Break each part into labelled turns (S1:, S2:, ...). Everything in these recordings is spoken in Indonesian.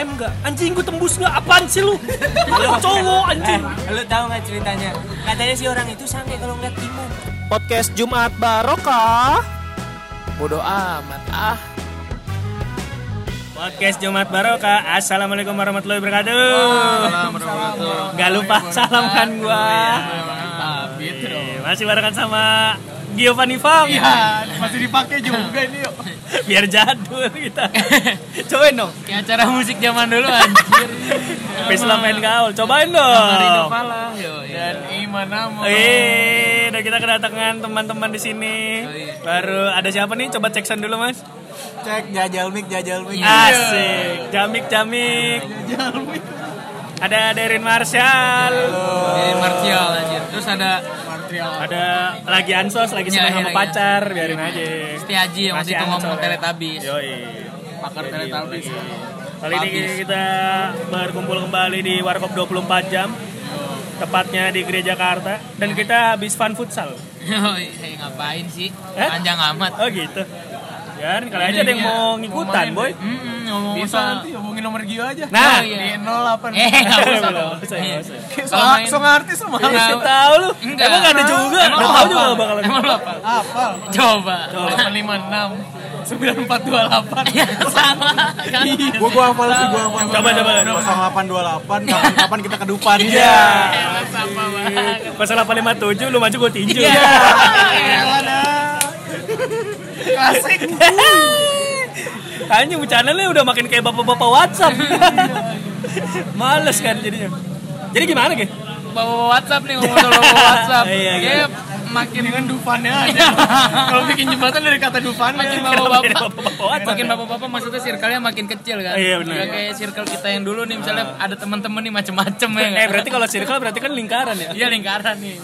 S1: M nggak? Anjing gue tembus nggak? Apaan sih lu? Lu cowok anjing.
S2: Eh, lu tahu nggak ceritanya? Katanya si orang itu sange kalau ngeliat timun.
S3: Podcast Jumat Barokah. Bodoh amat ah.
S1: Podcast Jumat Barokah. Assalamualaikum warahmatullahi wabarakatuh. Gak lupa salamkan gua.
S4: Gitu dong.
S1: Eh, Masih barengan sama Giovanni Fam.
S4: Iya, masih dipakai juga ini yuk.
S1: Biar jadul kita. Cobain dong.
S2: Kayak acara musik zaman dulu anjir. Oh.
S1: Pesta main gaul. Cobain
S2: Rino
S1: dong.
S2: Palang yo.
S4: Dan Iman Nama.
S1: Eh, dan kita kedatangan teman-teman di sini. Baru ada siapa nih? Coba cek sound dulu, Mas.
S4: Cek jajal mic, jajal mic.
S2: Iya.
S1: Asik, jamik jamik. Ada Derin Marshall,
S2: Jadi Martial anjir. Terus ada
S1: ada lagi ansos, lagi
S2: Iya,
S1: senang
S2: iya,
S1: sama
S2: iya.
S1: pacar, biarin aja.
S2: Setia Haji yang waktu
S1: Masih
S2: itu
S1: ancol,
S2: ngomong
S1: ya.
S2: teletabis.
S1: Yoi. Iya,
S4: Pakar teletabis.
S1: Kali ini
S2: Habis.
S1: kita berkumpul kembali di Warkop 24 jam, tepatnya di Gereja Jakarta, dan kita habis fun futsal.
S2: Yoi, hey, ngapain sih?
S1: Eh?
S2: Panjang amat.
S1: Oh gitu. Ya, kali
S2: Iya,
S1: aja ada yang mau ngikutan, boy.
S2: Hmm, ngomong
S4: Bisa
S2: soal
S4: nanti ngomongin nomor Gio aja.
S1: Nah,
S2: Oh, iya.
S4: Di 08.
S2: Eh, nggak usah
S1: Belum,
S2: dong.
S1: usah,
S2: Iya.
S1: usah.
S4: Kayak so,
S2: Kalau main-
S4: so ngerti semua.
S2: Iya.
S1: Nggak tahu lu.
S2: Enggak.
S1: Emang nggak ada juga.
S2: Emang
S1: Enggak
S2: lu
S1: tahu
S2: hafal?
S1: juga bakalan.
S2: Emang lu apa?
S4: Apa?
S2: Coba.
S4: 856 9428.
S2: Iya, sama. Kan?
S4: Gua gua hafal sih, gua hafal.
S1: Coba, coba.
S4: 0828 kapan-kapan kita ke depan
S1: Iya.
S2: Emang sama banget.
S1: Pasal 857 lu maju gue tinju.
S2: Iya.
S4: Klasik.
S1: Kayaknya channelnya udah makin kayak bapak-bapak WhatsApp. Males kan jadinya. Jadi gimana, Ge?
S2: Bawa WhatsApp nih ngomong soal bawa WhatsApp.
S1: Iya, iya.
S2: Kayak makin
S4: Dengan dufannya aja. Kalau bikin jembatan dari kata dufannya.
S1: iya.
S2: makin
S1: Beda
S2: bapak-bapak
S1: bapak-bapak WhatsApp.
S2: makin bapak-bapak maksudnya circle-nya makin kecil kan.
S1: Iya, benar. Ah.
S2: Nggak kayak circle kita yang dulu nih misalnya ada teman-teman nih macem-macem ya.
S1: Eh,
S2: nggak?
S1: berarti kalau circle berarti kan lingkaran ya?
S2: Iya lingkaran nih.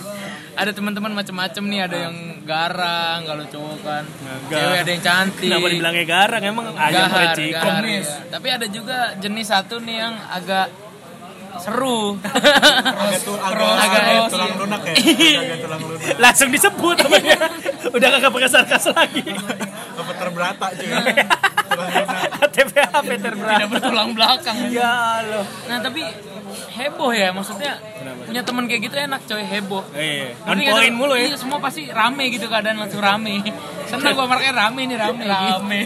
S2: Ada teman-teman macem-macem nih, ada yang garang kalau cowok kan.
S1: Gar-
S2: Cewek ada yang cantik.
S1: Nah, Kenapa dibilangnya garang? Emang ayam
S2: Gahar,
S1: reci.
S2: gahar,
S1: Komis.
S2: iya. Tapi ada juga jenis satu nih yang agak seru.
S4: Agak tuh agak
S2: Cross,
S4: agak
S2: cross,
S4: tulang
S2: iya.
S4: lunak ya. Agak tulang lunak.
S1: Langsung disebut namanya. Udah kagak pakai sarkas lagi.
S4: Apa terberata cuy.
S1: ATP HP
S2: Tidak
S1: terberat.
S2: bertulang belakang.
S1: Ya Allah.
S2: Nah tapi heboh ya maksudnya punya teman kayak gitu enak coy heboh.
S1: Eh, on
S2: Ngerti nggak
S1: point
S2: tuh?
S1: mulu ya.
S2: Iya, semua pasti rame gitu keadaan langsung rame. Seneng gua marknya rame nih rame. Rame.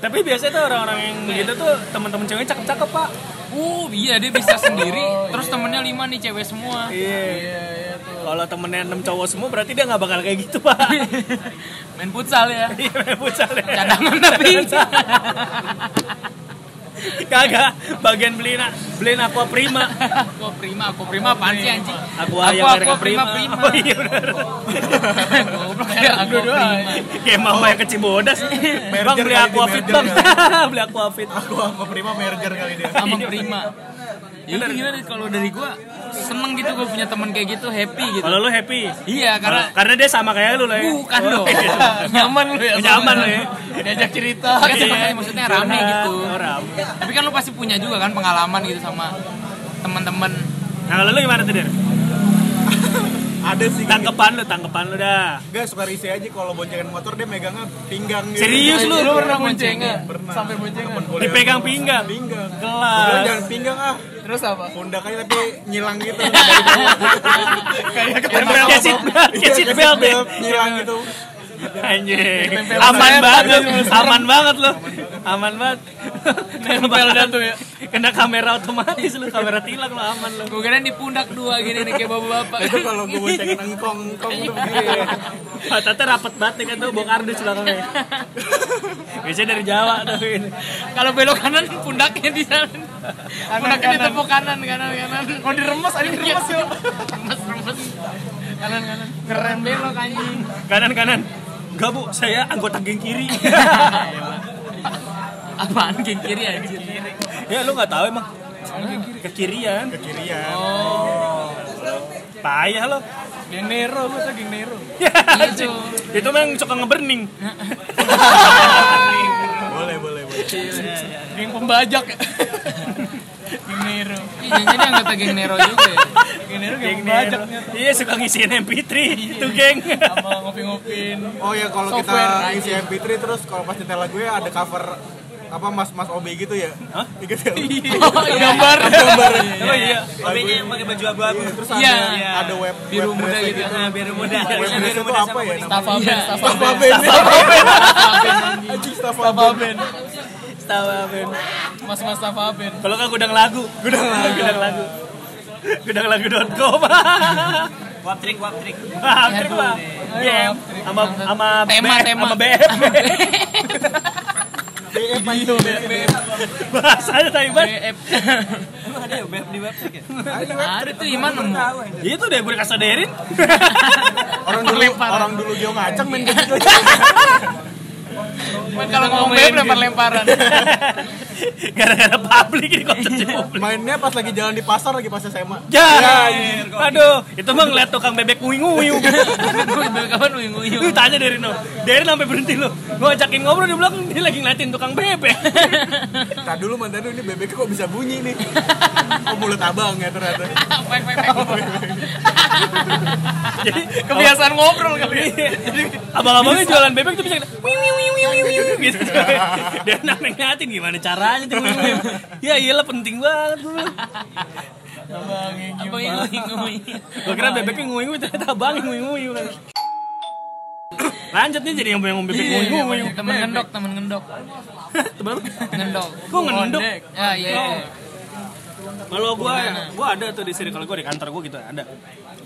S1: Tapi biasanya tuh orang-orang yang begitu tuh teman-teman ceweknya cakep-cakep, Pak.
S2: uh iya dia bisa sendiri. Terus temennya lima nih cewek semua.
S1: Iya. Kalau temennya enam cowok semua berarti dia nggak bakal kayak gitu pak.
S2: Main futsal ya.
S1: Iya main futsal ya.
S2: Cadangan tapi.
S1: Kagak bagian beliin beliin aqua prima.
S2: Aku prima, aku prima apaan sih anjing?
S1: Aku
S2: Aqua-
S1: ayam mereka
S2: Aqua prima prima.
S1: Oh iya benar.
S2: Goblok ya aku prima.
S1: Kayak mama yang ke Cibodas. Bang beli
S4: kali di
S1: aqua fit
S4: merger
S1: bang. beli aqua fit.
S4: Aku sama Prima merger kali dia.
S2: sama prima. Iya. Ya itu gimana kalau dari gua seneng gitu gua punya teman kayak gitu happy gitu.
S1: Kalau lu happy.
S2: Iya
S1: Karena,
S2: karena
S1: karena dia sama kayak lu lah ya.
S2: bukan
S1: Oh,
S2: dong.
S1: iya.
S2: Nyaman lu ya.
S1: Nyaman lu ya.
S4: Diajak cerita.
S2: Kan sebenarnya maksudnya rame
S1: Curhat,
S2: gitu.
S1: Iya. oh, rame.
S2: Tapi kan lu pasti punya juga kan pengalaman gitu sama teman-teman.
S1: Nah kalau lu gimana tuh Der?
S4: Ada sih kayak
S1: Tangkepan lu, tangkepan lu dah.
S4: gitu. Gak suka risih aja kalau boncengan motor dia megangnya pinggang gitu.
S1: Serius lu?
S2: Lu pernah boncengan?
S4: Pernah. Sampai boncengan.
S1: Dipegang pinggang.
S4: Pinggang. Gua
S1: Kelas.
S4: bilang jangan pinggang ah.
S2: Terus apa?
S4: Pundak aja tapi nyilang gitu.
S2: Iya,
S1: Kayak seat belt,
S5: Iya,
S1: kayak seat belt ya.
S4: Nyilang gitu.
S1: Anjing. Aman banget, aman banget lo. Aman banget. Nempel tuh ya. Kena kamera otomatis lu, kamera tilak lo aman lo.
S2: Gue kira di pundak dua gini nih kayak bapak-bapak.
S4: Itu kalau gue boncengan engkong-engkong
S5: Iya.
S4: tuh begini.
S1: Tata rapet banget nih kan tuh bongkar di belakangnya. Biasanya dari Jawa tuh ini.
S2: Kalau belok kanan pundaknya di sana. Pundaknya ditepuk kanan kanan kanan. Iya.
S4: Kalau diremes ada yang diremes yuk.
S2: Remes remes. Kanan kanan. Keren belok anjing.
S1: Kanan kanan. Enggak bu, saya anggota geng kiri.
S2: Apaan geng kiri anjir?
S1: ya lu nggak tahu emang. Ke kirian.
S4: Ke kiri ya.
S1: Payah lo.
S4: Geng Nero, masa geng Nero?
S2: Itu.
S1: Itu memang suka ngeberning.
S5: Oh.
S4: Boleh, boleh, boleh.
S2: Geng pembajak. geng Nero. Iya jadi anggota geng Nero juga ya. Geng Nero
S1: Geng Nero. Iya suka ngisiin MP3 itu geng.
S2: ngopi-ngopin.
S5: iya,
S4: Oh ya kalau kita
S2: Software.
S4: isi MP3 terus kalau pas nyetel lagu ya ada cover
S5: apa mas mas OB gitu ya
S1: Hah? Iya,
S5: Ingat ya
S2: Iya. Gambar.
S1: Oh iya.
S6: Hobinya yang pakai baju abu-abu.
S5: terus ada
S2: Iya.
S5: ada web
S2: Biru
S5: web
S2: muda
S5: dress
S2: gitu.
S6: Nah, biru muda.
S5: web
S6: Harusnya
S5: dress
S6: biru
S5: itu
S6: muda
S5: apa
S6: sama
S5: ya
S6: kuning.
S5: namanya?
S2: Staff Aben,
S5: Staff Aben Staff Aben Anjing Staff Aben
S1: Tahu apa?
S2: Mas-mas Staff Aben.
S1: Kalau nggak gudang lagu. Gudang lagu. Gudang lagu. Gudang lagu.com.
S6: Waptrik, waptrik.
S1: Hampir lah. Iya. Sama sama
S2: Tema,
S1: B-
S2: tema.
S1: sama BF. Bahasanya tai banget.
S2: BF.
S6: Lu ada ya beb di website ya?
S2: Ada tuh Iman nemu.
S6: Tahu anjir.
S1: Itu deh gue kasaderin.
S5: orang dulu orang dulu dia ngaceng main gitu
S2: Iman kalau ngomong BF lempar-lemparan.
S1: Gara-gara publik ini konsepnya publik.
S5: mainnya pas lagi jalan di pasar lagi pas SMA
S1: Ya, aduh, itu mah ngeliat tukang bebek nguyu-nguyu.
S2: Gue bilang kapan uyung-uyung.
S1: Lu tanya dari no, dari sampai berhenti lo. Gua ajakin ngobrol di belakang dia lagi ngeliatin tukang bebek.
S5: tak dulu mantan dulu, ini bebeknya kok bisa bunyi nih kok mulut abang ya ternyata
S2: Pek, pek, pek.
S1: Jadi
S2: Kebiasaan ngobrol kali. ya.
S1: abang-abangnya jualan bebek tuh bisa wiu wiu wiu wiu wiu wiu gitu. Dia nambah ngeliatin gimana caranya tuh wiu, wiu. Ya iyalah penting banget dulu.
S2: Abang yang uyung-uyung.
S1: Gua kira bebeknya nguyu ternyata abang nguyu-nguyu kan. Lanjut nih jadi yang yang
S2: Iya,
S1: bebek nguyu-nguyu.
S2: Temen ngendok, temen ngendok.
S1: Temen
S2: Ngendok.
S1: Kok ngendok?
S2: Ya, iya. iya.
S1: Kalau gua ya, gua ada tuh di circle gua di kantor gua gitu ada.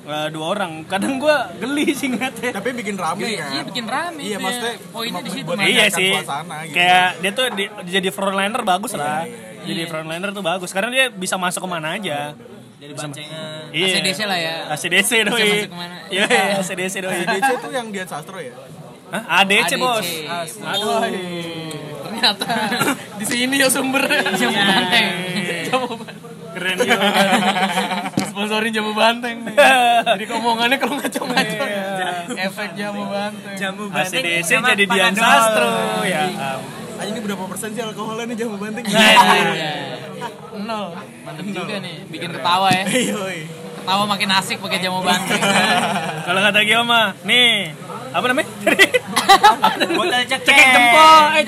S1: Eh, dua orang. Kadang gua geli sih ngeliatnya.
S5: tapi bikin rame kan
S2: Iya, bikin rame.
S5: Iya,
S2: itu ya.
S5: maksudnya
S2: Poinnya di situ.
S5: buat-
S2: Mas.
S1: Iya
S5: Menanyakan
S1: sih.
S5: suasana gitu.
S1: Kayak dia tuh di- jadi frontliner bagus
S2: Iya,
S1: lah. Jadi frontliner tuh bagus. Karena dia bisa masuk kemana aja.
S6: Dari bancengan.
S1: Iya.
S2: ACDC lah ya.
S1: ACDC doi.
S2: Bisa masuk kemana. Iya.
S1: Iya, ACDC doi.
S5: DC tuh yang Dian Sastro ya
S1: Hah? ADC, bos.
S2: ADC.
S1: Aduh.
S2: Ternyata di sini ya sumber. Iya, Jamu banteng. Jamu banteng.
S1: Keren juga.
S2: Sponsorin jamu banteng nih. Jadi omongannya kalau ngaco-ngaco. Efek jamu banteng.
S6: Jamu batik
S1: ACDC
S6: sama
S1: jadi Dian
S6: Panadol.
S1: Sastro. Ya. ampun. Nah,
S5: Anjing ini berapa persen sih alkoholnya nih jamu banting
S2: Iya. Nol. Mantep juga nih. Bikin ketawa ya.
S5: Yoi.
S2: Ketawa makin asik pakai jamu banteng.
S1: Kalau kata Gioma, nih apa namanya? Tadi
S6: Botol cekek.
S1: cekek jempol, eh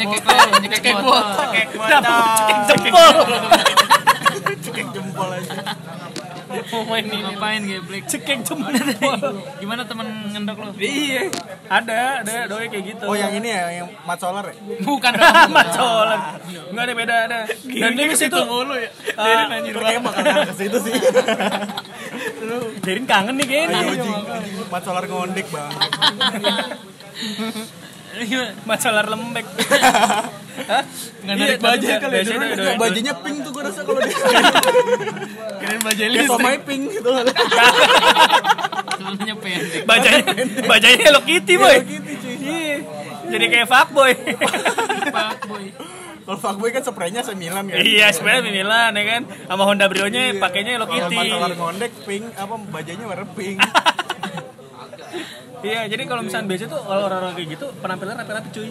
S2: Nyekek botol, nyekek botol.
S6: Cekek
S1: kenapa
S6: botol.
S1: cekek jempol?
S5: cekek jempol aja
S2: Main ini. Ngapain geblek?
S1: Cekek jempol.
S2: Gimana temen ngendok lo?
S1: Iya, ada, ada doi kayak gitu.
S5: oh yang ini ya yang mat solar ya
S2: Bukan dong.
S1: Macolan. Enggak ada beda ada. Dan dia ke situ mulu ya.
S5: itu kayak makanan kan, ke situ sih
S2: Iya,
S1: Derin kangen nih kayaknya.
S5: Ayo anjing anjing, mat solar ngondek bang
S1: Macolar Iya. lembek. Enggak
S2: narik baju
S1: kali ya. Biasanya
S5: Dulu
S1: doi- doi-
S5: bajunya pink tuh gue rasa kalau dia
S2: Keren baja
S5: kayak somai pink gitu
S2: Sebenarnya pendek.
S1: bajanya bajanya Hello Kitty boy.
S5: gitu cuy
S1: Iya. Jadi kayak fuckboy.
S2: Pak boy.
S5: kalau fuckboy kan spraynya semilan ya
S1: Iya, sebenarnya Milan ya kan. Sama Honda Brio-nya
S5: Iya.
S1: pakainya Hello
S5: kalau mat
S1: Kitty.
S5: solar ngondek pink apa bajunya warna pink
S1: Iya, jadi kalau misalnya biasa tuh orang-orang kayak gitu penampilan rapi-rapi cuy.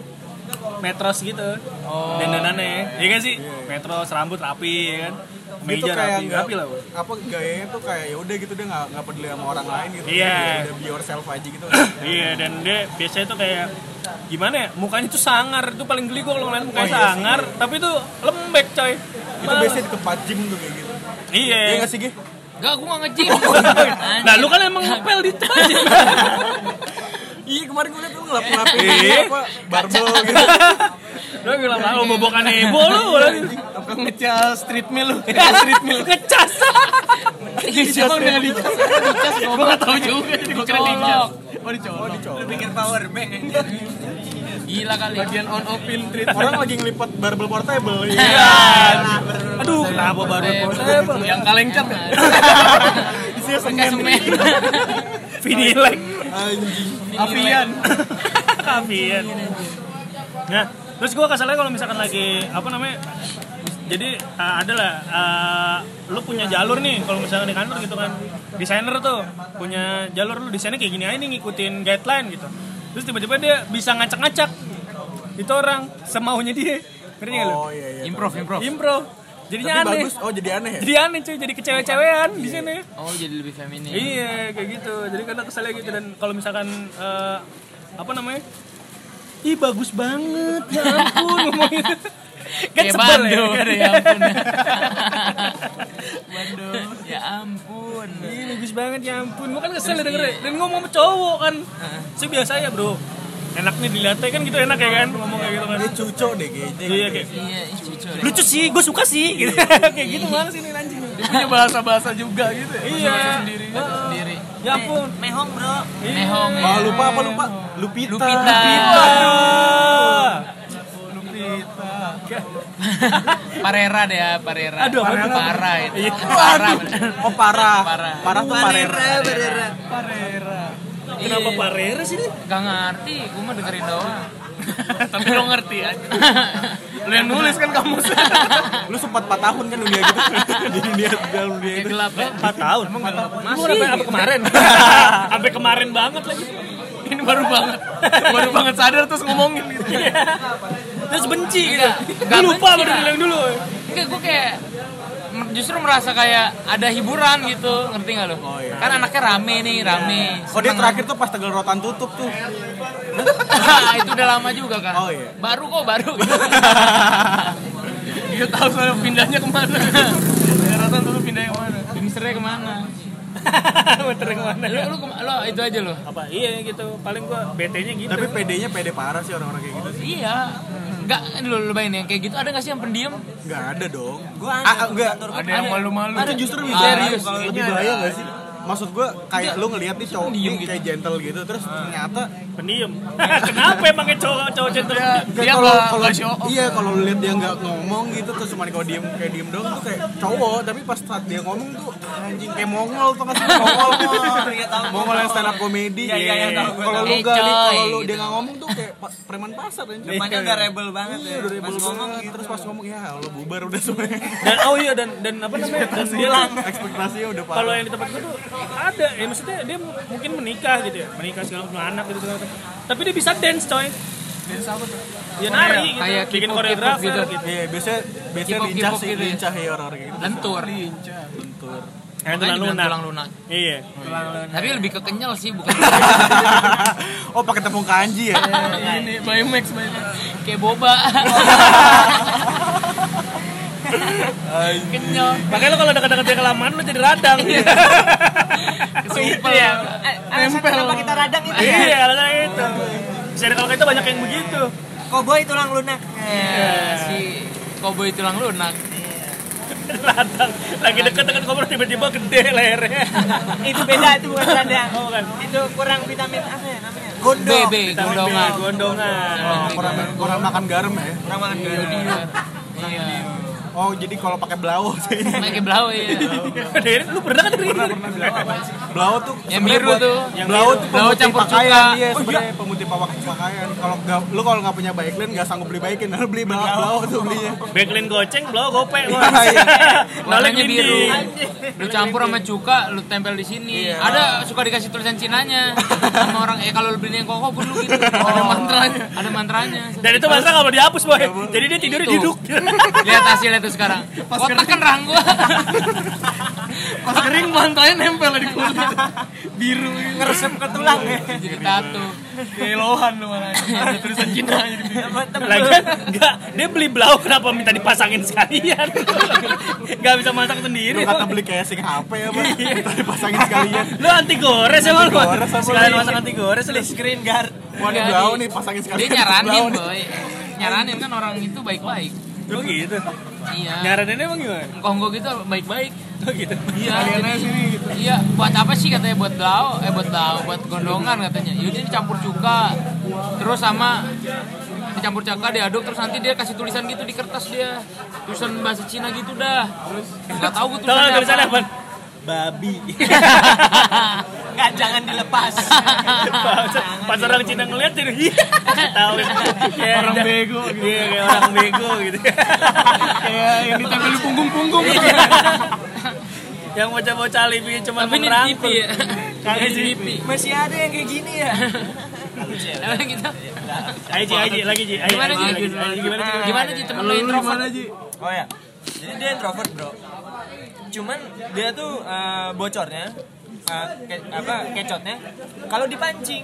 S1: Metros gitu. Oh. Dandanannya. Iya kan sih? Metros rambut rapi ya kan.
S5: itu
S1: Meja
S5: kayak
S1: rapi,
S5: nggak-
S1: rapi lah. Boy.
S5: apa gayanya tuh kayak ya udah gitu dia nggak nggak peduli sama orang lain gitu
S1: Iya.
S5: Dia udah be yourself aja gitu
S1: Iya, dan dia biasanya tuh kayak gimana ya? Mukanya tuh sangar, itu paling geli gua kalau ngeliat mukanya sangar, tapi tuh lembek coy.
S5: Oh, iya itu
S1: Malah-
S5: biasanya di tempat gym tuh kayak gitu
S1: Iya.
S5: Iya nggak sih Gi?
S2: Enggak, gua nggak nge-gym.
S1: Nah, lu kan emang ngepel di itu aja.
S5: Iya kemarin gue liat lu ngelap-ngelapin apa Iya. barbel gitu
S1: Lu bilang, "Ah, bobokan heboh lu."
S5: apa ngecas street meal lu
S1: Street meal ngecas.
S2: Cuma Iya, udah nggak dicas. Dicas gua nggak tahu juga. Gua kira dicas.
S5: oh dicolok
S6: Lu pikir power bank anjir.
S2: Gila kali. Bagian on off in treat.
S5: orang lagi ngelipat barbel portable iya.
S1: Iya. Aduh, kenapa baru
S2: Yang kaleng cat.
S5: isinya
S2: Pakai
S5: semen
S2: semen.
S1: vinilek?
S5: anjing
S2: Avian.
S1: Kasian. Nah, terus gue kesalnya kalau misalkan lagi apa namanya? Jadi uh, ada lah, uh, lu punya jalur nih kalau misalkan di kantor gitu kan, desainer tuh punya jalur lu desainnya kayak gini aja nih ngikutin guideline gitu. Terus tiba-tiba dia bisa ngacak-ngacak itu orang semaunya dia, ngerti nggak lu?
S5: oh iya iya
S2: Improv, improv.
S1: Impro, jadinya
S5: tapi
S1: aneh.
S5: bagus Iya. oh jadi aneh ya
S1: Jadi aneh cuy, jadi kecewe-cewean di sini.
S2: Oh, jadi lebih feminin.
S1: Iya, kayak gitu. Jadi karena kesalnya gitu dan kalau misalkan eh, apa namanya? Ih bagus banget, ya ampun ngomongin
S2: kan
S4: Kayak Bandung. Iya,
S2: ya ampun Bandung ya ampun
S1: Ih, bagus banget ya ampun. Gua kan kesel dengernya. Dan ngomong sama cowok kan. Saya biasa ya, Bro. Enak nih dilihatnya kan gitu enak ya kan
S4: Iya,
S1: ngomong kayak gitu kan.
S5: Dia cuco deh kayaknya.
S1: Iya kayak
S2: iya ih, cucu deh.
S1: lucu sih, gue suka sih gitu. kayak gitu banget sih ini anjing.
S4: Iya, Punya bahasa-bahasa Eh, juga gitu ya.
S1: Iya.
S2: sendiri sendiri
S1: Ya ampun.
S6: Mehong bro.
S2: Nehong ya.
S5: Oh, lupa apa lupa? Lupita.
S2: Lupita.
S1: Ah.
S2: Parera deh ya, Parera.
S1: Aduh, apa
S2: parah
S1: itu?
S2: parah itu.
S1: Iya.
S2: Parah.
S5: Oh, parah.
S2: Parah.
S5: Parah tuh parera.
S6: Barera.
S1: Kenapa
S2: Iya.
S1: parera sih ini?
S2: Gak ngerti, gue mah dengerin doang.
S4: Tapi lo ngerti ya. Lo yang nulis kan kamu.
S5: Lu sempat 4 tahun kan dunia gitu. Di dunia dalam dunia
S4: Kayak
S5: itu.
S4: gelap ya. Iya.
S1: 4 tahun. Masih apa, apa kemarin? Sampai kemarin banget lagi.
S4: Ini baru banget. Baru banget sadar terus ngomongin gitu.
S2: Iya.
S1: Terus benci gitu.
S2: Enggak,
S1: Gua
S2: enggak
S1: lupa
S2: benci
S1: baru
S2: lah.
S1: bilang dulu.
S2: Enggak, gue kayak mer- justru merasa kayak ada hiburan gitu, ngerti gak lo?
S4: Oh, iya.
S2: Kan anaknya rame nih, rame.
S5: Oh dia
S2: Seneng.
S5: terakhir tuh pas Tegal Rotan tutup tuh.
S2: Ah, itu udah lama juga kan?
S5: Oh, iya.
S2: Baru kok, baru.
S4: Dia tahu soalnya pindahnya kemana. Rata tuh pindahnya kemana.
S2: Misternya kemana?
S1: Muter kemana
S2: Lu,
S1: ya?
S2: lu, kema- lu itu aja lo?
S1: Apa? Iya gitu. Paling gua BT-nya gitu.
S5: Tapi PD-nya PD parah sih orang-orang kayak gitu.
S2: Iya. Enggak, lu, lu bayangin yang kayak gitu ada gak sih yang pendiam?
S5: Enggak ada dong.
S6: Gua
S5: Ah, ah,
S6: ada.
S5: enggak.
S4: Ada yang malu-malu.
S5: Itu justru lebih
S2: Ada.
S5: bahaya.
S2: Serius,
S5: Kalau lebih
S2: kayaknya ada.
S5: bahaya enggak sih? Maksud gua kayak lu ngelihat nih cowok
S2: diem
S5: nih kayak gentle gitu terus ternyata
S1: Pendiam. Kenapa emangnya cowok cowok centil?
S5: Kayak
S4: Dia
S5: kalau
S4: nggak-
S5: kalau
S4: nggak show off.
S5: iya kalau lu lihat dia nggak ngomong gitu terus cuma kalau diem kayak diem doang tuh kayak cowok tapi pas saat dia ngomong tuh anjing kayak mongol tuh kan mongol
S6: Iya, tahu.
S5: mongol yang stand up comedy gitu.
S6: Iya, iya, iya, tahu, gua
S5: kalau
S2: tahu.
S5: lu nggak
S2: Eh, coy,
S5: kalau lu dia
S2: gitu.
S5: nggak ngomong tuh kayak pa- preman pasar anjing
S6: Depannya udah rebel banget ya.
S5: Iya, udah
S6: Pas
S5: rebel
S6: ngomong
S5: banget.
S6: gitu.
S5: terus pas ngomong ya lo bubar udah semuanya
S1: Dan oh iya dan dan apa namanya? Dan dia
S5: ekspektasinya udah
S1: kalau
S5: parah
S1: yang di tempat gue tuh ada ya maksudnya dia m- mungkin menikah gitu ya menikah segala punya anak gitu segala macam tapi dia bisa dance coy dance apa tuh ya nari gitu
S2: Kayak
S1: bikin
S2: K-pop,
S1: koreografer
S2: K-pop
S1: gitu.
S2: gitu.
S5: iya biasanya biasanya
S2: Kipok-kipok
S5: lincah sih
S2: gitu ya.
S5: lincah ya orang-orang kayak gitu
S2: Lentur.
S5: bentur
S1: Yang tulang
S2: Makanya dibilang
S1: lunak
S2: Tulang lunak.
S1: iya
S2: Tapi lebih ke kenyal sih, bukan
S5: oh pakai tepung kanji ya
S4: Ini Baymax, Baymax.
S2: kayak boba. Kenyal.
S1: makanya lo kalau dekat-dekat dia kelamaan lo jadi radang
S2: Iya. Sumpel.
S6: Alasan kenapa kita radang itu ya?
S1: iya alasan itu bisa ada kalau kita banyak yang begitu
S6: Koboi tulang lunak. Iya.
S2: Si koboi tulang lunak.
S1: radang lagi deket-deket ngobrol tiba-tiba gede lehernya
S6: Itu beda, itu bukan radang.
S1: oh kan
S6: Itu kurang vitamin apa ya namanya?
S2: BB, gondongan.
S1: gondongan
S5: kurang kurang makan garam ya
S6: Kurang makan
S2: Iya.
S5: Oh, jadi kalau pakai blau sih.
S2: Pakai blau ya.
S1: Dere, lu pernah kan dengerin
S5: Blau tuh
S2: Yang
S5: sebenarnya
S2: biru
S5: buat-
S2: tuh.
S5: Yang blau tuh
S2: Blau
S5: pemutih
S2: campur
S5: pakaian
S2: cuka. Oh,
S5: iya, sebenarnya pemutih pawa- pakaian. Kalau nggak lu kalau nggak punya baiklin nggak sanggup beli baiklin, lu beli blau, blau tuh belinya.
S1: Backlin goceng, blow gope.
S5: Iya.
S1: Nolak
S2: Warnanya biru. Lu campur sama cuka, lu tempel di sini.
S4: Iya.
S2: Ada suka dikasih tulisan Cinanya sama orang eh kalau lu beliin yang koko gua dulu gitu.
S4: Oh.
S2: Ada mantranya. Ada mantranya.
S1: Dan itu masa nggak boleh dihapus
S5: Ya,
S1: boy. Jadi dia tidurnya
S5: Gitu.
S2: Tuh.
S1: duduk.
S2: Lihat hasilnya tuh sekarang. Kotak kan rahang gua.
S4: Pas kering bantalnya nempel di kulit. Biru gitu.
S6: Ngeresep ke tulang ya.
S2: Jadi tato.
S4: Kayak lohan lu malah. Ada tulisan Cina jadi biru.
S1: Lagian enggak, kan, dia beli blau kenapa minta dipasangin sekalian? Enggak bisa masak
S5: Lu
S2: Iya.
S1: sendiri.
S5: kata beli kayak sing HP apa? Kita dipasangin sekalian.
S1: Lu anti gores emang lu.
S5: Anti gores apa
S1: Sekalian
S5: lu?
S1: masak anti gores lu.
S6: Screen guard.
S5: Wah, ini
S2: Jadi-
S5: blau nih pasangin
S2: Iya, Dia
S5: sekalian.
S2: nyaranin,
S5: Blau nih.
S2: boy. Nyaranin kan orang itu baik-baik.
S1: Lu gitu.
S2: Iya.
S1: Nyaraninnya emang gimana?
S2: Konggo gitu baik-baik.
S1: Lu gitu.
S2: Iya, jadi, iya buat apa sih katanya buat blau, eh buat blau, buat gondongan katanya. Yaudah dicampur cuka, terus sama dicampur cuka diaduk terus nanti dia kasih tulisan gitu di kertas dia tulisan bahasa Cina gitu dah terus nggak tahu gue
S1: Tahu
S2: tulisannya
S1: dari sana
S2: apa
S1: apa? Babi.
S6: Enggak, jangan dilepas.
S1: Pas orang Cina ngeliat jadi "Iya." tahu. Ya,
S4: Orang
S1: udah.
S4: bego gitu.
S1: Iya, kayak orang bego gitu. Iya.
S4: Kayak yang ditempel di punggung-punggung gitu.
S1: Yang bocah-bocah alibi cuma
S2: tapi ini di TV
S1: merangkul.
S2: ya
S1: Kali
S2: Ini di TV
S6: Masih ada yang kayak gini ya.
S2: Emang gitu
S1: Ayo Ji, ayo Ji, lagi Ji. Ayo,
S2: gimana
S1: ayo,
S2: Ji?
S1: lagi, Ji. Ayo, gimana Ji?
S2: gimana Ji temen lu introvert
S6: Oh ya. Jadi dia introvert, Bro. Cuman dia tuh eh, bocornya eh, ke- apa kecotnya kalau dipancing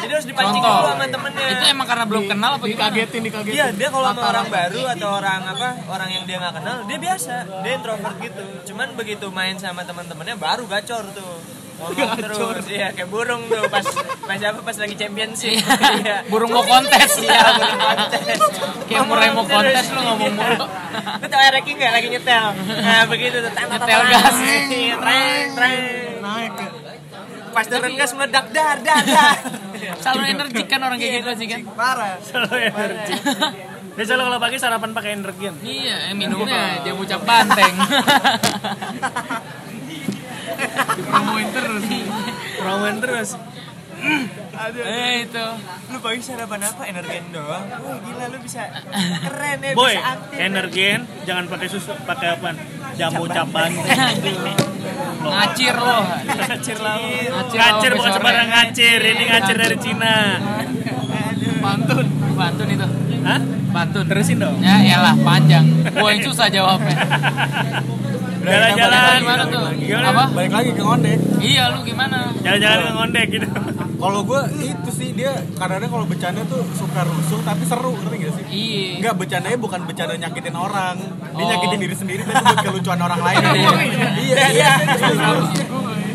S6: jadi harus dipancing
S2: Contoh.
S6: dulu sama temennya
S2: Itu emang karena belum kenal apa gimana?
S4: dikagetin dikagetin
S6: Iya, dia kalau sama orang baru atau orang apa, orang yang dia nggak kenal, dia biasa, dia introvert gitu. Cuman begitu main sama teman-temannya baru gacor tuh. Ngomong terus, iya kayak burung tuh pas pas apa pas lagi championship. Iya.
S2: Burung mau kontes.
S6: Iya, burung kontes.
S2: Kayak murai mau kontes lu ngomong
S6: Iya.
S2: mulu.
S6: Lu tau Ereki nggak lagi nyetel? Nah begitu tuh. tang, tang,
S2: Nyetel
S6: tang,
S2: gas.
S6: iya, Treng, treng.
S4: naik ya.
S6: Pas turun gas meledak dar dar dar.
S2: Selalu energik kan orang kayak gitu sih kan.
S6: Parah.
S1: Selalu energi. Dia selalu ya. kalau pagi sarapan pakai energen.
S2: Iya, eh, minumnya dia ucap banteng.
S4: promoin terus
S1: Rawan terus.
S2: eh itu.
S6: Lu pagi sarapan apa? Energen doang. Wah, Oh, gila lu bisa keren ya,
S1: Boy,
S6: bisa aktif.
S1: energen jangan pakai susu, pakai apa? Jamu caban.
S2: Ngacir loh.
S1: Ngacir lah.
S2: Ngacir lah,
S1: Ngacir bukan
S2: sampai sore.
S1: sembarang ngacir, ini ngacir dari Cina.
S2: Pantun. Pantun itu.
S1: Hah?
S2: Pantun.
S1: Terusin dong.
S2: Ya iyalah panjang. Gua yang susah jawabnya.
S1: Jalan-jalan
S2: Gimana tuh?
S1: Gimana?
S2: Apa?
S5: balik lagi ke ngondek
S2: Iya lu gimana?
S1: Jalan-jalan ke ngondek gitu.
S5: kalau gue itu sih dia kadang-kadang kalau bercanda tuh suka rusuh tapi seru ngerti gak sih
S2: Iya.
S5: Enggak, bercandanya bukan bercanda nyakitin orang Dia
S2: Oh.
S5: nyakitin diri sendiri tapi buat kelucuan orang lain Iya, iya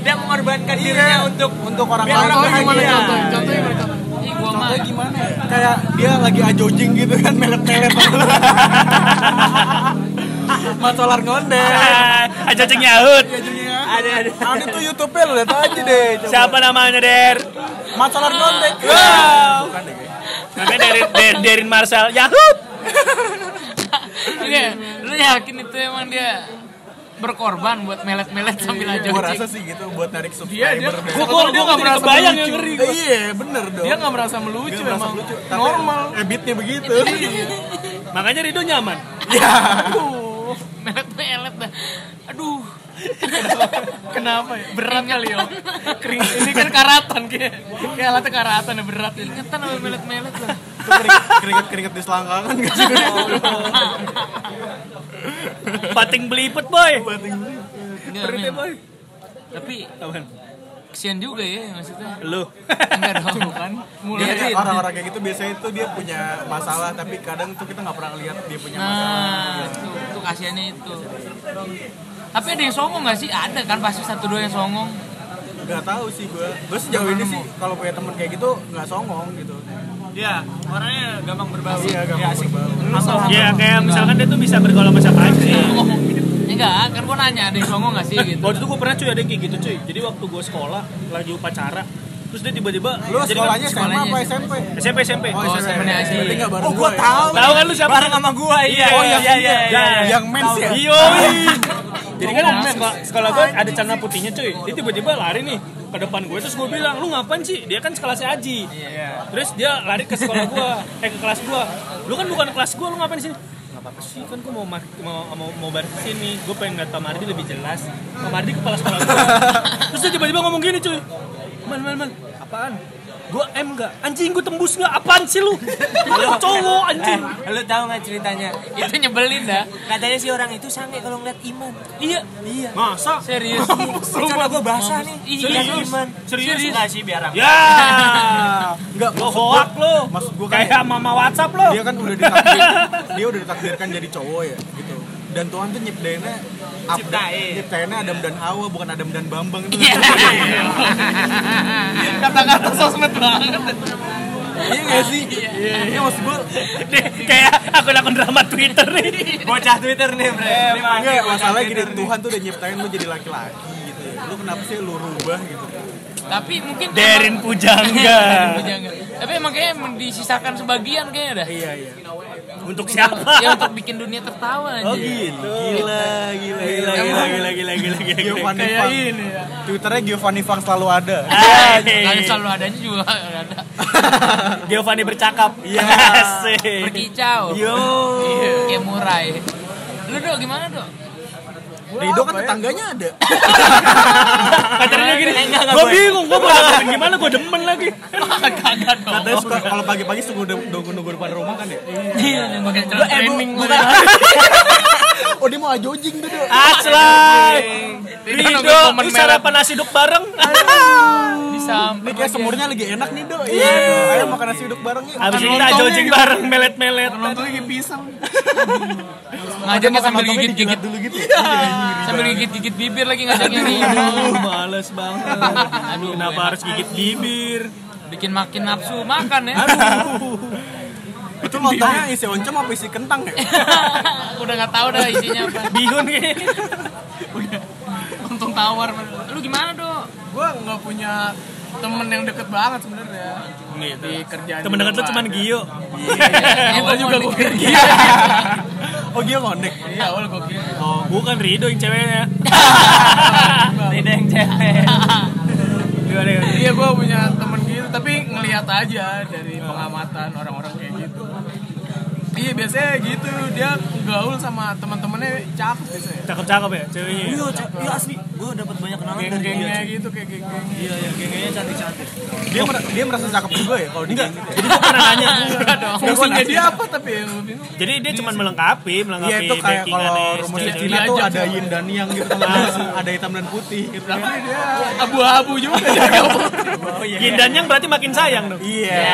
S6: dia mengorbankan dirinya untuk
S5: Untuk orang
S6: Biar
S5: lain
S6: orang
S5: bahagia.
S4: gimana contoh contohnya gimana contoh
S2: Iya. Ih, gua mah.
S5: Kayak gimana ya? Kayak dia lagi ajojing gitu kan, melet-melet Masolar ngondek
S1: Aja ceng yaut.
S5: Ada, ada Ada tuh Youtube-nya lu liat aja deh coba.
S1: Siapa namanya, Der?
S5: Masolar ngondek
S1: Wow. Namanya dari Der- Derin Marcel. Yahut.
S2: Iya, lu yakin itu emang dia berkorban buat melet-melet sambil
S4: Iya.
S2: aja
S5: Gue rasa sih gitu buat narik
S4: dia dia
S5: subscriber deh.
S4: gua gua gua nggak merasa
S1: kebayang
S4: melucu.
S1: yang ngeri.
S5: Iya, bener dong
S4: dia nggak merasa melucu
S5: Dia merasa
S4: emang
S5: lucu, tapi
S4: normal
S5: Ebitnya begitu
S1: Makanya Rido nyaman.
S5: Iya
S2: melet-melet dah. Aduh,
S4: kenapa ya berat kali ya kering ini kan karatan kayak kayak alatnya karatan ya berat ini
S2: ingetan sama melet-melet lah.
S5: Itu keringet- keringet-keringet di selangkangan gak sih?
S1: Pating belipet, Boy.
S2: Iya, Enggak,
S1: Perutnya,
S2: memang.
S1: Boy.
S2: Tapi
S1: Apaan?
S2: kesian juga ya maksudnya.
S1: Lu.
S2: Enggak dong,
S4: kan.
S2: bukan. Mulai
S5: Iya, orang-orang kayak gitu biasanya itu dia punya masalah tapi kadang tuh kita nggak pernah lihat dia punya masalah.
S2: Nah, itu, itu kasihannya itu. Tapi ada yang songong gak sih? Ada kan pasti satu dua yang songong.
S5: Gak tahu sih gue. Gue sejauh ini sih kalau punya temen kayak gitu nggak songong gitu.
S6: Iya, orangnya gampang berbau.
S5: Iya, gak mau berbau.
S1: Ya kayak misalkan dia tuh bisa bergaul sama siapa aja.
S2: Ngomong. Enggak, kan gua nanya ada yang songong gak sih gitu.
S1: Waktu itu gue pernah cuy ada yang kayak gitu cuy. Jadi waktu gue sekolah lagi upacara, terus dia tiba-tiba
S5: Lu
S1: jadi kan
S5: sekolahnya SMA
S2: sekolahnya
S5: apa
S2: sih.
S5: SMP?
S1: SMP SMP.
S5: Oh,
S2: Oh,
S5: SMP.
S2: sebenarnya sih.
S5: Berarti nggak bareng
S6: Oh, gua
S5: gua ya?
S6: tahu.
S1: Tahu kan lu siapa?
S6: Bareng sama gua, iya.
S1: Oh, yang
S6: iya, iya, iya.
S5: Yang men sih. ya?
S1: Iya. Jadi kan sekolah, sekolah gue ada celana putihnya cuy. Dia tiba-tiba lari nih ke depan gue terus gue bilang lu ngapain sih dia kan sekelasnya Aji terus dia lari ke sekolah gue eh ke kelas gue lu kan bukan kelas gue lu ngapain di sini nggak apa-apa sih kan gue mau mar- mau mau mau balik ke sini gue pengen ngeliat Pak Mardi lebih jelas Pak Mardi kepala sekolah gue terus dia tiba-tiba ngomong gini cuy man man man apaan gue M nggak anjing gue tembus nggak apaan sih lu lu cowok anjing
S6: Eh, lu tahu nggak ceritanya?
S2: Itu nyebelin dah.
S6: Katanya si orang itu sange kalau ngeliat iman.
S1: iya iya masa
S2: Serius.
S6: Karena gua kan basah nih.
S2: Serius?
S6: Ngeliat iman.
S1: Serius?
S6: Nggak sih biar apa?
S1: Ya.
S5: Nggak,
S1: Lo hoak lo.
S5: Maksud gua kan-
S1: kayak mama WhatsApp lo.
S5: Dia kan udah ditakdir, dia udah ditakdirkan jadi cowok ya gitu. Dan Tuhan tuh nyiptainnya apa?
S6: Ciptain.
S5: Nyiptainnya Adam dan Hawa bukan Adam dan Bambang itu.
S2: Iya.
S4: kata-kata sosmed banget
S5: Iya gak sih? Iya. Iya maksud gue
S1: Dia kayak akun-akun drama Twitter nih. Eh,
S6: Bocah Twitter nih, Bre. Dia pakai
S5: Enggak,
S6: bocah
S5: masalahnya gini
S6: Twitter nih.
S5: Tuhan tuh udah nyiptain lu jadi laki-laki gitu ya. Lu kenapa sih lu rubah gitu?
S2: Tapi mungkin
S1: Derin Pujangga.
S2: Pujangga. Tapi emang kayaknya emang disisakan sebagian kayaknya dah.
S5: Iya iya.
S1: Untuk siapa?
S2: Ya untuk bikin dunia tertawa aja.
S1: Oh gitu.
S5: Gila, gila, gila,
S1: Gila gila gila gila gila. iya. gila.
S5: Ya, Giovanni Fang.
S4: ini ya
S5: Twitternya Giovanni Fang selalu ada.
S2: Kalau
S1: Hai.
S2: selalu adanya juga nggak ada.
S1: Giovanni bercakap. Iya.
S2: Berkicau. Iya,
S1: Yo.
S2: Kayak murai. Lu dok gimana dok?
S5: Rido kan tetangganya ada.
S1: Katanya gini,
S6: Enggak, enggak,
S1: gue
S6: Boy.
S1: bingung, gue mau gimana, gue demen lagi.
S2: Kagak dong.
S5: Katanya suka kalau pagi-pagi suka nunggu-nunggu depan rumah kan ya.
S2: Iya, yang pakai celana
S1: Eh, ya.
S2: training.
S5: Oh dia mau ajojing tuh.
S2: Iya.
S1: Aslay.
S4: Dia
S1: Rido,
S4: nungguin momen
S1: lu
S4: merah.
S1: sarapan nasi uduk bareng.
S4: Bisa.
S5: Ini kayak semurnya lagi enak nih do. Iya. Ayo makan nasi uduk bareng yuk.
S1: Abis ini kita jojeng bareng, melet-melet.
S5: Nonton lagi pisang.
S2: Ngajaknya sambil
S5: Nontonnya
S2: gigit-gigit
S5: dijilat dulu gitu. Iya.
S2: sambil gigit-gigit bibir lagi ngajaknya nih.
S1: Aduh, males banget.
S2: Aduh,
S1: Kenapa harus gigit bibir?
S2: Bikin makin nafsu makan ya.
S5: Itu lontongnya isi oncom apa isi kentang ya?
S2: Udah nggak tahu dah isinya apa.
S1: Bihun kayaknya.
S4: Untung tawar.
S2: Lu gimana, Iya, Dok?
S4: Gue nggak punya temen yang deket banget sebenarnya.
S1: Gitu.
S4: Di kerjaan.
S1: Temen
S4: juga kan.
S1: deket lu
S4: Iya, nggak
S1: cuman
S4: ada.
S1: Gio.
S2: Awal juga lu
S5: Iya, Oh dia ngondek.
S4: Iya, awal gue kira.
S1: Oh, bukan Rido yang ceweknya.
S6: Tidak yang cewek.
S1: Gimana ya?
S4: Iya, gue punya temen gitu, tapi ngelihat aja dari pengamatan orang-orang kayak gitu. Iya biasanya gitu dia gaul sama teman-temannya cakep biasanya.
S1: Cakep-cakep ya ceweknya. ya?
S6: Iya, cak- iya asli. Gue dapat banyak kenalan dari dia.
S4: Geng-gengnya
S6: cuy.
S4: gitu kayak geng-geng.
S6: Iya, iya, gengnya cantik-cantik.
S5: Dia mer- dia merasa cakep juga ya kalau dia gitu.
S1: Jadi gua pernah nanya.
S4: Fungsinya dia apa tapi yang gue bingung.
S1: Jadi dia cuman melengkapi, melengkapi
S5: Iya itu kayak
S1: backingannya ya,
S5: kalau rumus
S1: cewek-cewek.
S5: Cina tuh
S4: Diajak
S5: ada yin dan yang gitu sama ada hitam dan putih gitu.
S4: Tapi dia abu-abu juga jaga putih.
S1: Yin dan yang berarti makin sayang dong.
S5: Iya.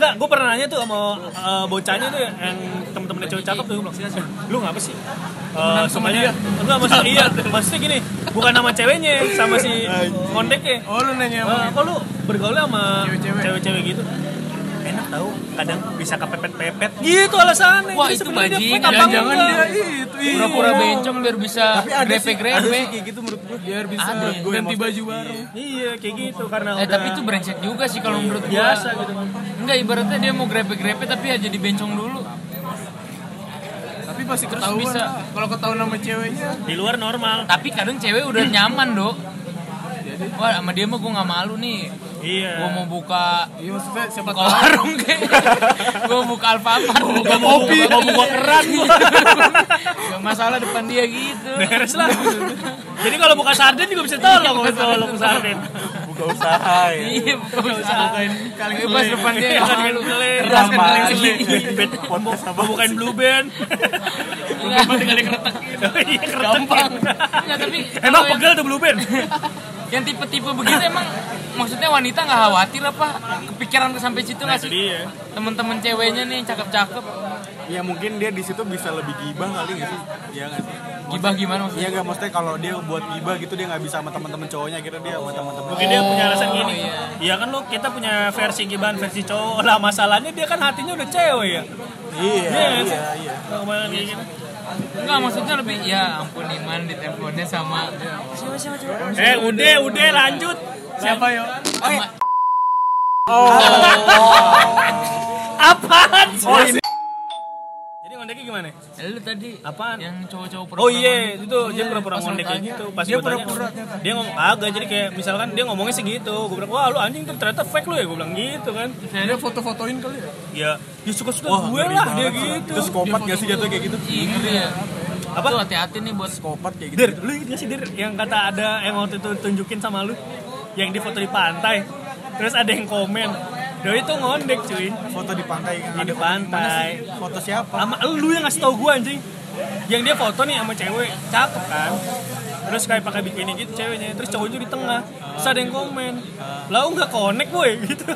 S1: Enggak, gue pernah nanya tuh sama eh, bocahnya tuh yang temen-temennya cewek cakep tuh gue bilang, "Sis, lu ngapa sih? Eh, sama dia? Enggak, maksudnya iya, maksudnya gini, bukan nama ceweknya, sama si konteknya.
S4: Oh lu nanya
S1: Eh, kok lu bergaul sama
S4: Cewek-cewek.
S1: cewek-cewek gitu? Enak tau, kadang bisa kepepet-pepet. Gitu alasannya.
S2: Wah,
S1: Jadi
S2: itu
S1: sebenarnya dia
S2: bajingan.
S1: fake apa
S4: jangan
S1: enggak?
S4: dia itu iya.
S2: pura-pura bencong biar bisa
S5: Tapi ada sih, ada sih
S2: grepe-grepe.
S5: kayak gitu menurut gue.
S4: biar bisa
S2: Ada.
S4: ganti baju bareng.
S1: Iya, kayak gitu karena
S2: Eh
S1: udah
S2: tapi itu brengsek juga sih kalau menurut gua.
S1: biasa gitu.
S2: Enggak ibaratnya dia mau grepe-grepe tapi ya jadi bencong dulu.
S4: Tapi pasti
S2: Terus
S4: ketahuan
S2: bisa.
S4: lah. Kalau ketahuan sama ceweknya
S1: Di luar normal.
S2: Tapi kadang cewek udah nyaman, Dok. Wah, sama dia mah gua nggak malu nih. Gua
S1: Iya.
S2: mau buka
S4: Iya maksudnya siapa
S2: buka warung kayak. gua buka Alfamart, buka
S1: Kopi, mau buka keran gua.
S2: Gak masalah depan dia gitu.
S1: Beres lah. Jadi kalau buka sarden juga bisa tolong, kalau tolong sarden.
S5: Buka usaha ya.
S2: Iya, buka usaha.
S4: kaleng
S2: Bebas
S4: sele.
S2: depan dia
S1: Kan
S2: nggak
S1: dengan
S2: malu.
S1: sele.
S5: Keras kan
S1: Sama
S5: dengan
S1: lagi.
S2: Iya.
S1: Band- Mau bukain blue band.
S2: Tinggal
S1: Iya, keretek.
S2: Gampang. Ya, tapi
S1: Emang
S2: kalau yang-
S1: pegel tuh blue band.
S2: yang tipe-tipe begitu emang maksudnya wanita nggak khawatir apa kepikiran ke sampai situ nggak
S1: Itu
S2: sih
S1: dia.
S2: temen-temen ceweknya nih cakep-cakep
S5: Ya mungkin dia di situ bisa lebih gibah kali nggak sih? Iya nggak sih?
S2: gibah gimana maksudnya
S5: Iya nggak maksudnya kalau dia buat gibah gitu dia nggak bisa sama teman-teman cowoknya gitu dia sama teman-teman.
S1: Mungkin dia punya alasan gini.
S2: iya.
S1: Ya kan lo kita punya versi gibahan versi cowok lah masalahnya dia kan hatinya udah cewek ya.
S5: Iya.
S1: iya, iya.
S2: enggak maksudnya lebih ya ampun iman diteleponnya sama
S1: Eh, udah, udah lanjut. Oh, iya.
S4: Siapa yo?
S1: Apaan sih? Jadi ngondeknya gimana?
S2: Eh, lu tadi
S1: Apaan?
S2: yang
S1: Oh
S2: cowok-cowok pura-pura
S1: iya, itu dia pura-pura ngondek kayak gitu. Pas dia pura-pura. Dia ngomong agak jadi kayak misalkan dia ngomongnya segitu. Gue bilang, "Wah, lu anjing tuh ternyata fake lu ya." Gue bilang gitu kan.
S4: Dia foto-fotoin kali ya.
S1: Ya, ya
S5: Oh,
S1: suka-suka gue lah dia gitu.
S5: Terus kopat nggak sih jatuh kayak gitu?
S2: Ih, ngeri ya
S1: Apa?
S2: Tuh, hati-hati nih buat
S5: Kopat kayak gitu.
S1: Dir, lu inget gak sih Dir yang kata ada yang waktu itu tunjukin sama lu yang di foto di pantai terus ada yang komen Doi itu ngondek cuy
S5: Foto di pantai kan
S1: di
S5: ada
S1: pantai
S5: foto siapa?
S1: sama lu yang ngasih tau gue anjing yang dia foto nih sama cewek cakep kan terus kayak pakai bikini gitu ceweknya terus cowoknya di tengah terus ada yang komen lau nggak connect boy gitu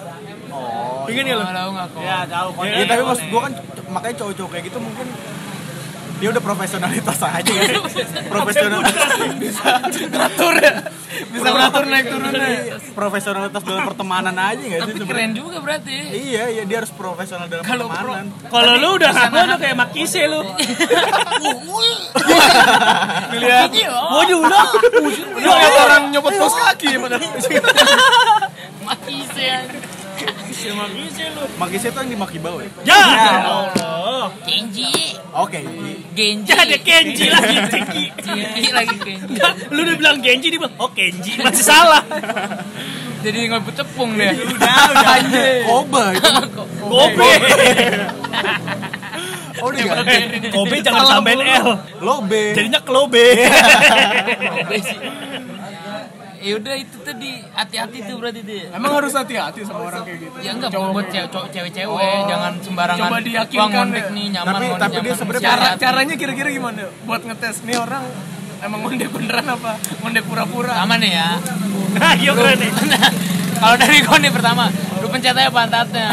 S1: oh, ingat nggak lu
S2: kalau nggak kok
S1: ya tahu
S5: Iya tapi maksud gue kan makanya cowok-cowok kayak gitu mungkin dia udah profesionalitas aja ya. Profesional
S4: Ngatur ya. Bisa ngatur naik turunnya.
S5: Iya, profesionalitas dalam pertemanan aja nggak sih?
S2: tapi
S5: sebenarnya?
S2: keren juga berarti
S5: Iya, iya dia harus profesional dalam
S2: Kalau pro-
S5: pertemanan.
S1: kalau lu udah ngaku udah kayak makise lu
S2: Lihat.
S1: Iya,
S2: Waduh,
S1: waduh lu Ya.
S4: Lu kayak orang nyopot kos kaki ya padahal.
S2: mati saya.
S1: makise lu
S5: Makisnya tuh yang di Makibau ya?
S1: ya Allah
S2: Genji,
S5: Oke.
S2: Genji.
S1: Ya ada Kenji lagi Ciki.
S2: Genji lagi Genji.
S1: Nggak, Lu udah bilang Kenji dia bilang oh Kenji masih salah.
S2: Jadi ngebut tepung deh.
S5: Udah, udah. Koba itu.
S1: Kobe.
S5: Oh, dia ganti.
S1: Kobe jangan sampein L.
S5: Lobe.
S1: Jadinya Klobe.
S2: Ya udah itu tadi hati-hati tuh berarti dia.
S4: Emang harus hati-hati sama orang kayak gitu.
S2: Ya enggak buat cewek- cowok- cewek-cewek jangan sembarangan.
S4: Oh. Coba diyakinkan
S2: Wah, ngondek
S4: ya.
S2: nih nyaman
S5: Tapi-
S2: ngondek
S5: tapi dia
S2: nyaman.
S5: sebenarnya
S2: Mesti
S4: Cara
S2: hati-hati.
S4: caranya kira-kira gimana buat ngetes nih orang emang ngondek beneran apa ngondek pura-pura
S2: Sama nih ya.
S1: Nah, iya keren nih.
S2: Kalau dari gua nih pertama, lu pencet aja pantatnya.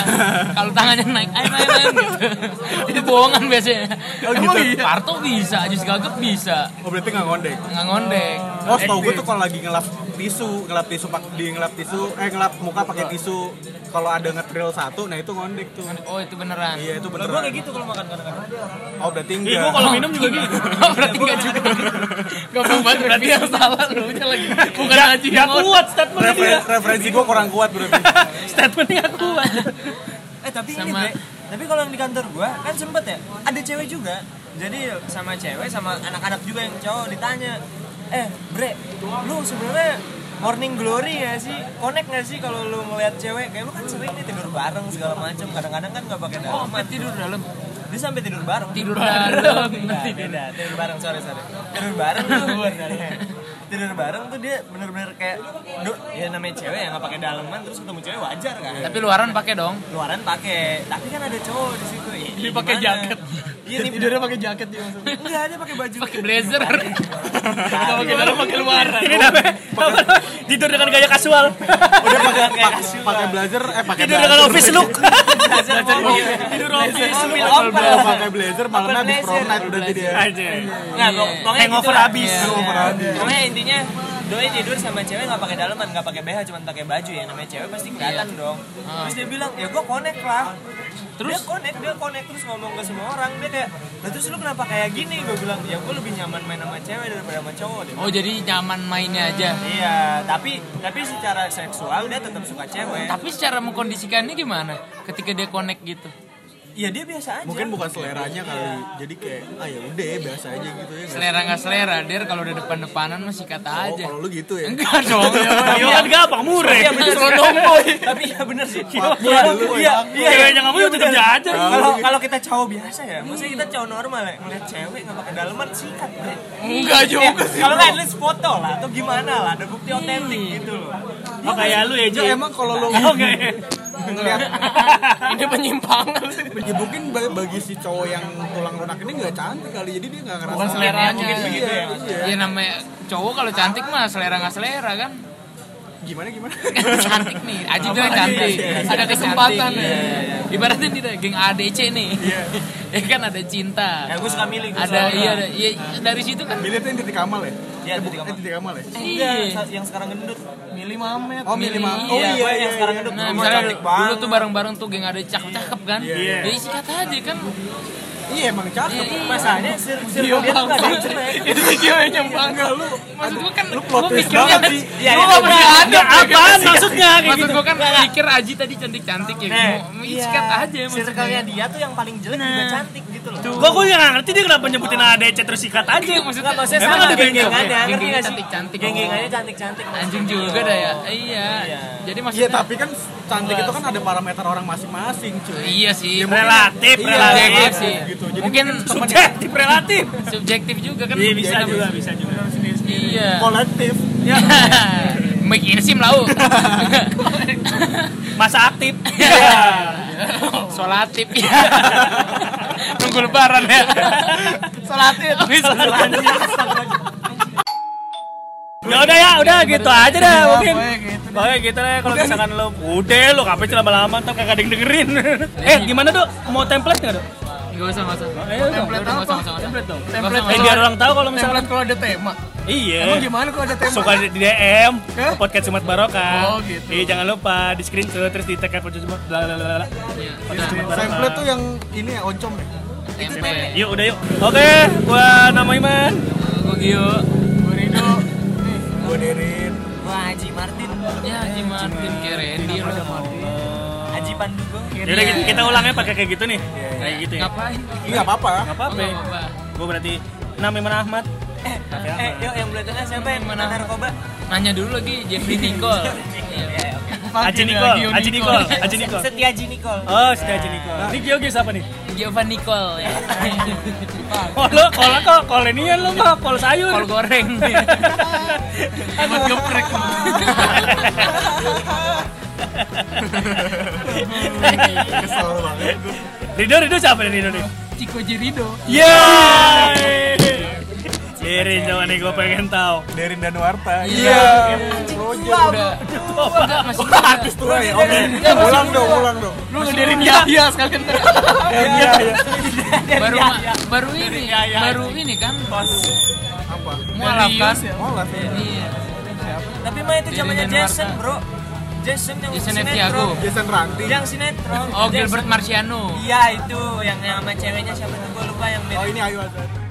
S2: Kalau tangannya naik, ayo main main gitu. Itu bohongan biasanya.
S4: Oh, gitu?
S2: Emang iya? Parto bisa, jus gagap bisa.
S5: Oh berarti nggak ngondek?
S2: Nggak ngondek.
S5: Oh, tau gue tuh kalau lagi ngelap tisu, ngelap tisu pak di ngelap tisu, eh ngelap muka pakai tisu. Kalau ada ngetril satu, nah itu ngondek tuh.
S2: Oh itu beneran.
S5: Iya itu
S1: Lah, gua
S5: beneran.
S1: kayak gitu kalau makan kadang-kadang.
S5: Oh berarti
S1: Iya, gua
S5: enggak.
S1: kalau minum juga gitu.
S2: Oh, berarti nggak juga. Goblok banget berarti yang salah lu nya lagi. Bukan haji
S1: Gak kuat statementnya dia.
S5: Referen- Referensi gue kurang kuat berarti.
S1: Statementnya gak kuat.
S6: Eh tapi ini
S2: Sama-
S6: Bre. tapi kalau yang di kantor gua kan sempet ya ada cewek juga. Jadi sama cewek sama anak-anak juga yang cowok ditanya, "Eh, Bre, lu sebenarnya morning glory ya sih? Connect gak sih kalau lu ngeliat cewek? Kayak lu kan sering nih tidur bareng segala macam. Kadang-kadang kan nggak pakai
S2: Oh,
S6: dalaman.
S2: sampai tidur dalam.
S6: Dia sampai tidur bareng.
S2: Tidur dalam.
S6: Beda, beda. Tidur bareng, sorry, sorry. Tidur bareng tuh. tidur bareng tuh dia bener-bener kayak, duh, ya namanya cewek yang nggak pakai daleman terus ketemu cewek wajar kan?
S2: Tapi luaran pakai dong.
S6: luaran pakai tapi kan ada cowok di situ ya
S4: Dia pakai
S6: gimana?
S4: jaket.
S6: iya nih
S4: tidurnya pakai jaket dia maksudnya
S6: enggak dia pakai baju
S2: Pakai blazer.
S4: Nggak pakai dalam pakai luaran
S1: Ini namanya apa? tidur dengan gaya kasual.
S6: udah pakai kayak
S5: Pakai blazer, eh pakai
S1: Tidur dengan office look.
S6: tidur office mobil
S5: blazer,
S6: ompel
S5: Oh, pakai blazer, malamnya habis prom night udah jadi ya.
S1: Aja.
S6: nggak pokoknya
S1: Hangover
S6: gitulah.
S1: abis.
S6: Iya.
S5: Hangover abis.
S6: pokoknya intinya doi tidur sama cewek nggak pakai daleman nggak pakai BH cuma pakai baju ya namanya cewek pasti kelihatan dong terus dia bilang ya gue connect lah terus dia connect dia connect terus ngomong ke semua orang dia kayak "Lah, terus lu kenapa kayak gini gue bilang ya gue lebih nyaman main sama cewek daripada sama cowok Dia
S2: Oh jadi nyaman mainnya aja.
S6: Iya, tapi tapi secara seksual dia tetap suka cewek.
S2: Tapi secara mengkondisikannya gimana? Ketika dia connect gitu.
S6: Iya dia biasa aja.
S5: Mungkin bukan seleranya kali. Jadi kayak ah ya udah ya, biasa aja gitu ya. nggak sih?
S2: Selera nggak selera, Der kalau udah depan-depanan masih kata
S5: Oh,
S2: aja.
S5: kalau lu gitu ya.
S2: Enggak dong.
S1: Iya kan gampang murah.
S6: Iya bener
S2: Selodong,
S6: Tapi iya bener sih. Iya
S5: Iya, dulu,
S6: iya.
S5: Pak.
S6: Iya
S1: Ceweknya nggak mau, ya tetap
S6: bener.
S1: jajan.
S6: Kalau kalau kita cowok biasa ya, maksudnya kita cowok normal ya, ngeliat cewek nggak pakai daleman sikat. Bre.
S2: Enggak
S6: Ya,
S2: juga.
S6: kalau nggak at least foto lah atau gimana lah, ada bukti otentik gitu loh.
S1: Oh kayak lu ya, Ji.
S5: Ya, emang kalau lu
S1: Oh, kayak-
S5: ngeliat
S2: Ini penyimpangan.
S5: ya mungkin ba- bagi si cowok yang tulang lunak ini nggak cantik kali jadi dia nggak ngerasa
S4: Bukan seleranya.
S5: Mungkin begitu ya, iya.
S2: Ya namanya cowok kalau cantik mah selera nggak selera kan.
S5: gimana gimana
S2: cantik nih, Aji bilang cantik. Ada kesempatan ya. Ibaratnya tidak geng ADC nih.
S5: Iya.
S2: ya kan ada cinta.
S6: Ya gue suka milih. gua
S2: Ada
S6: suka.
S2: iya, ada, iya dari situ kan.
S5: milih tuh yang titik kamal ya
S6: Iya,
S5: Eh,
S6: titik kamal.
S5: titik kamal ya
S2: Iya.
S6: Enggak, yang sekarang gendut.
S4: milih mamet
S5: oh milih
S2: Milih,
S5: mam
S2: iya,
S5: oh iya
S6: Gue
S5: iya
S6: yang sekarang
S5: iya.
S6: gendut.
S2: Nah,
S6: gua
S2: misalnya
S6: cantik
S2: dulu
S6: banget.
S2: tuh bareng-bareng tuh geng ada cakep-cakep kan.
S1: Iya.
S2: Jadi sikat aja kan.
S5: iya emang
S2: Iya,
S5: cakep
S2: iya.
S6: Masalahnya sir, sir, dia tuh nggak ada yang jelek. Iya,
S4: itu ceweknya bangga lu
S2: Maksud gua kan
S5: lu plot
S2: gua
S5: twist
S2: pikirnya
S5: banget sih.
S2: Iya, gua nggak punya adab ya,
S1: Apaan
S2: kan?
S1: maksudnya kayak
S2: Maksud
S1: gitu?
S2: gua kan mikir Aji tadi cantik-cantik ya.
S6: Eh,
S2: Mau sikat aja maksudnya.
S6: Circle-nya dia tuh yang paling jelek juga cantik gitu loh.
S1: Gua gua yang nggak ngerti dia kenapa nyebutin ADC terus sikat aja.
S2: Maksudnya
S6: Maksudnya
S1: Emang
S6: sama
S1: ada
S6: geng-gengannya,
S2: geng-geng?
S6: ngerti gak sih?
S2: Cantik-cantik.
S6: Geng-gengannya cantik-cantik.
S2: Anjing juga dah ya. Iya. Jadi
S5: iya
S2: maksudnya
S5: tapi kan cantik itu kan ada parameter orang masing-masing cuy
S2: Iya sih.
S1: Relatif,
S5: Iya,
S1: relatif.
S2: Subjektif sih.
S5: Gitu, jadi
S2: Mungkin
S1: Subjektif, relatif.
S2: subjektif juga kan.
S1: Iya bisa juga, bisa juga.
S2: Iya.
S5: kolektif
S2: Make in sim lau.
S1: Masa aktif.
S2: Iya.
S1: Iya.
S2: Solatif. Iya. Nunggu lebaran ya. Solatif. Solatif.
S1: Ya udah ya, udah gitu aja dah mungkin. Pokoknya gitu deh kalau misalkan lo udah lo ngapain sih lama-lama ntar kagak ada yang dengerin. eh gimana tuh? Mau template enggak tuh?
S2: Enggak usah, enggak usah.
S1: Ayo dong.
S2: Template dong, enggak usah, enggak usah. Template dong. Template.
S1: Eh biar orang tahu kalau misalkan
S4: template kalau ada tema
S1: iya.
S4: gimana kalau ada tema
S1: Suka di di DM
S4: Hah?
S1: podcast Jumat Barokah.
S4: Oh, gitu.
S1: Iya jangan lupa di screenshot terus di tag podcast Jumat bla bla bla. bla. Podcast Jumat
S5: Sampel
S1: Barokah.
S5: tuh yang ini ya oncom ya
S2: Template.
S1: Yuk udah yuk. Oke, gua nama Iman.
S2: Gua Gio.
S5: gue derin
S6: Wah, Haji Martin.
S2: Ya, Haji Martin kayak Randy.
S6: Haji Pandugo.
S1: Yaudah
S6: Iya,
S2: gitu.
S1: kita- kita ulangnya pakai kayak gitu nih. Kayak gitu ya.
S2: Ngapain?
S5: nggak
S1: Enggak
S2: Oh,
S5: apa-apa
S1: apa-apa.
S2: nggak apa-apa.
S1: Gua berarti nama Iman Ahmad.
S6: Eh, eh, yuk yang belakangnya siapa yang
S2: Mana?
S6: mana narkoba?
S2: Nanya dulu lagi Jeffrey Nicole. Oh, Iya.
S6: Iya, oke.
S1: Aji Nicole, Aji Nicole, Aji Nicole.
S6: Setia Haji Nicole.
S1: Oh, Setia Aji Nicole. Ini Gio Gio siapa nih?
S2: Giovanni Nicole ya.
S1: Oh, lo kol kok kol ini ya lo mah kol sayur.
S2: Kol goreng.
S1: Buat geprek.
S5: kesel banget gue
S1: Rido Rido siapa nih Rido nih?
S4: Ciko Jirido
S1: Yeay. Diri coba nih gue pengen tahu.
S5: Derin Danuarta.
S2: Iya.
S5: Roger udah.
S2: Enggak masih muda.
S5: Terus tua ya, Om. Ulang dong, ulang dong.
S2: Lu ngedirin Yahya sekalian ntar.
S5: Iya, iya.
S2: baru
S6: iya,
S2: ma- baru ini baru ini kan
S5: Apa?
S2: mualaf kan
S5: Molas ya.
S2: iya
S6: Tapi mah itu zamannya
S2: Dari
S6: Jason,
S2: Denmark.
S6: Bro. Jason yang
S2: Jason Thiago.
S6: sinetron.
S5: Jason Ranti.
S6: Yang sinetron.
S2: oh
S6: Jason.
S2: Gilbert Marciano
S6: Iya, itu yang yang sama ceweknya siapa tuh gua lupa yang mirip.
S5: Oh, ini Ayu Azhar.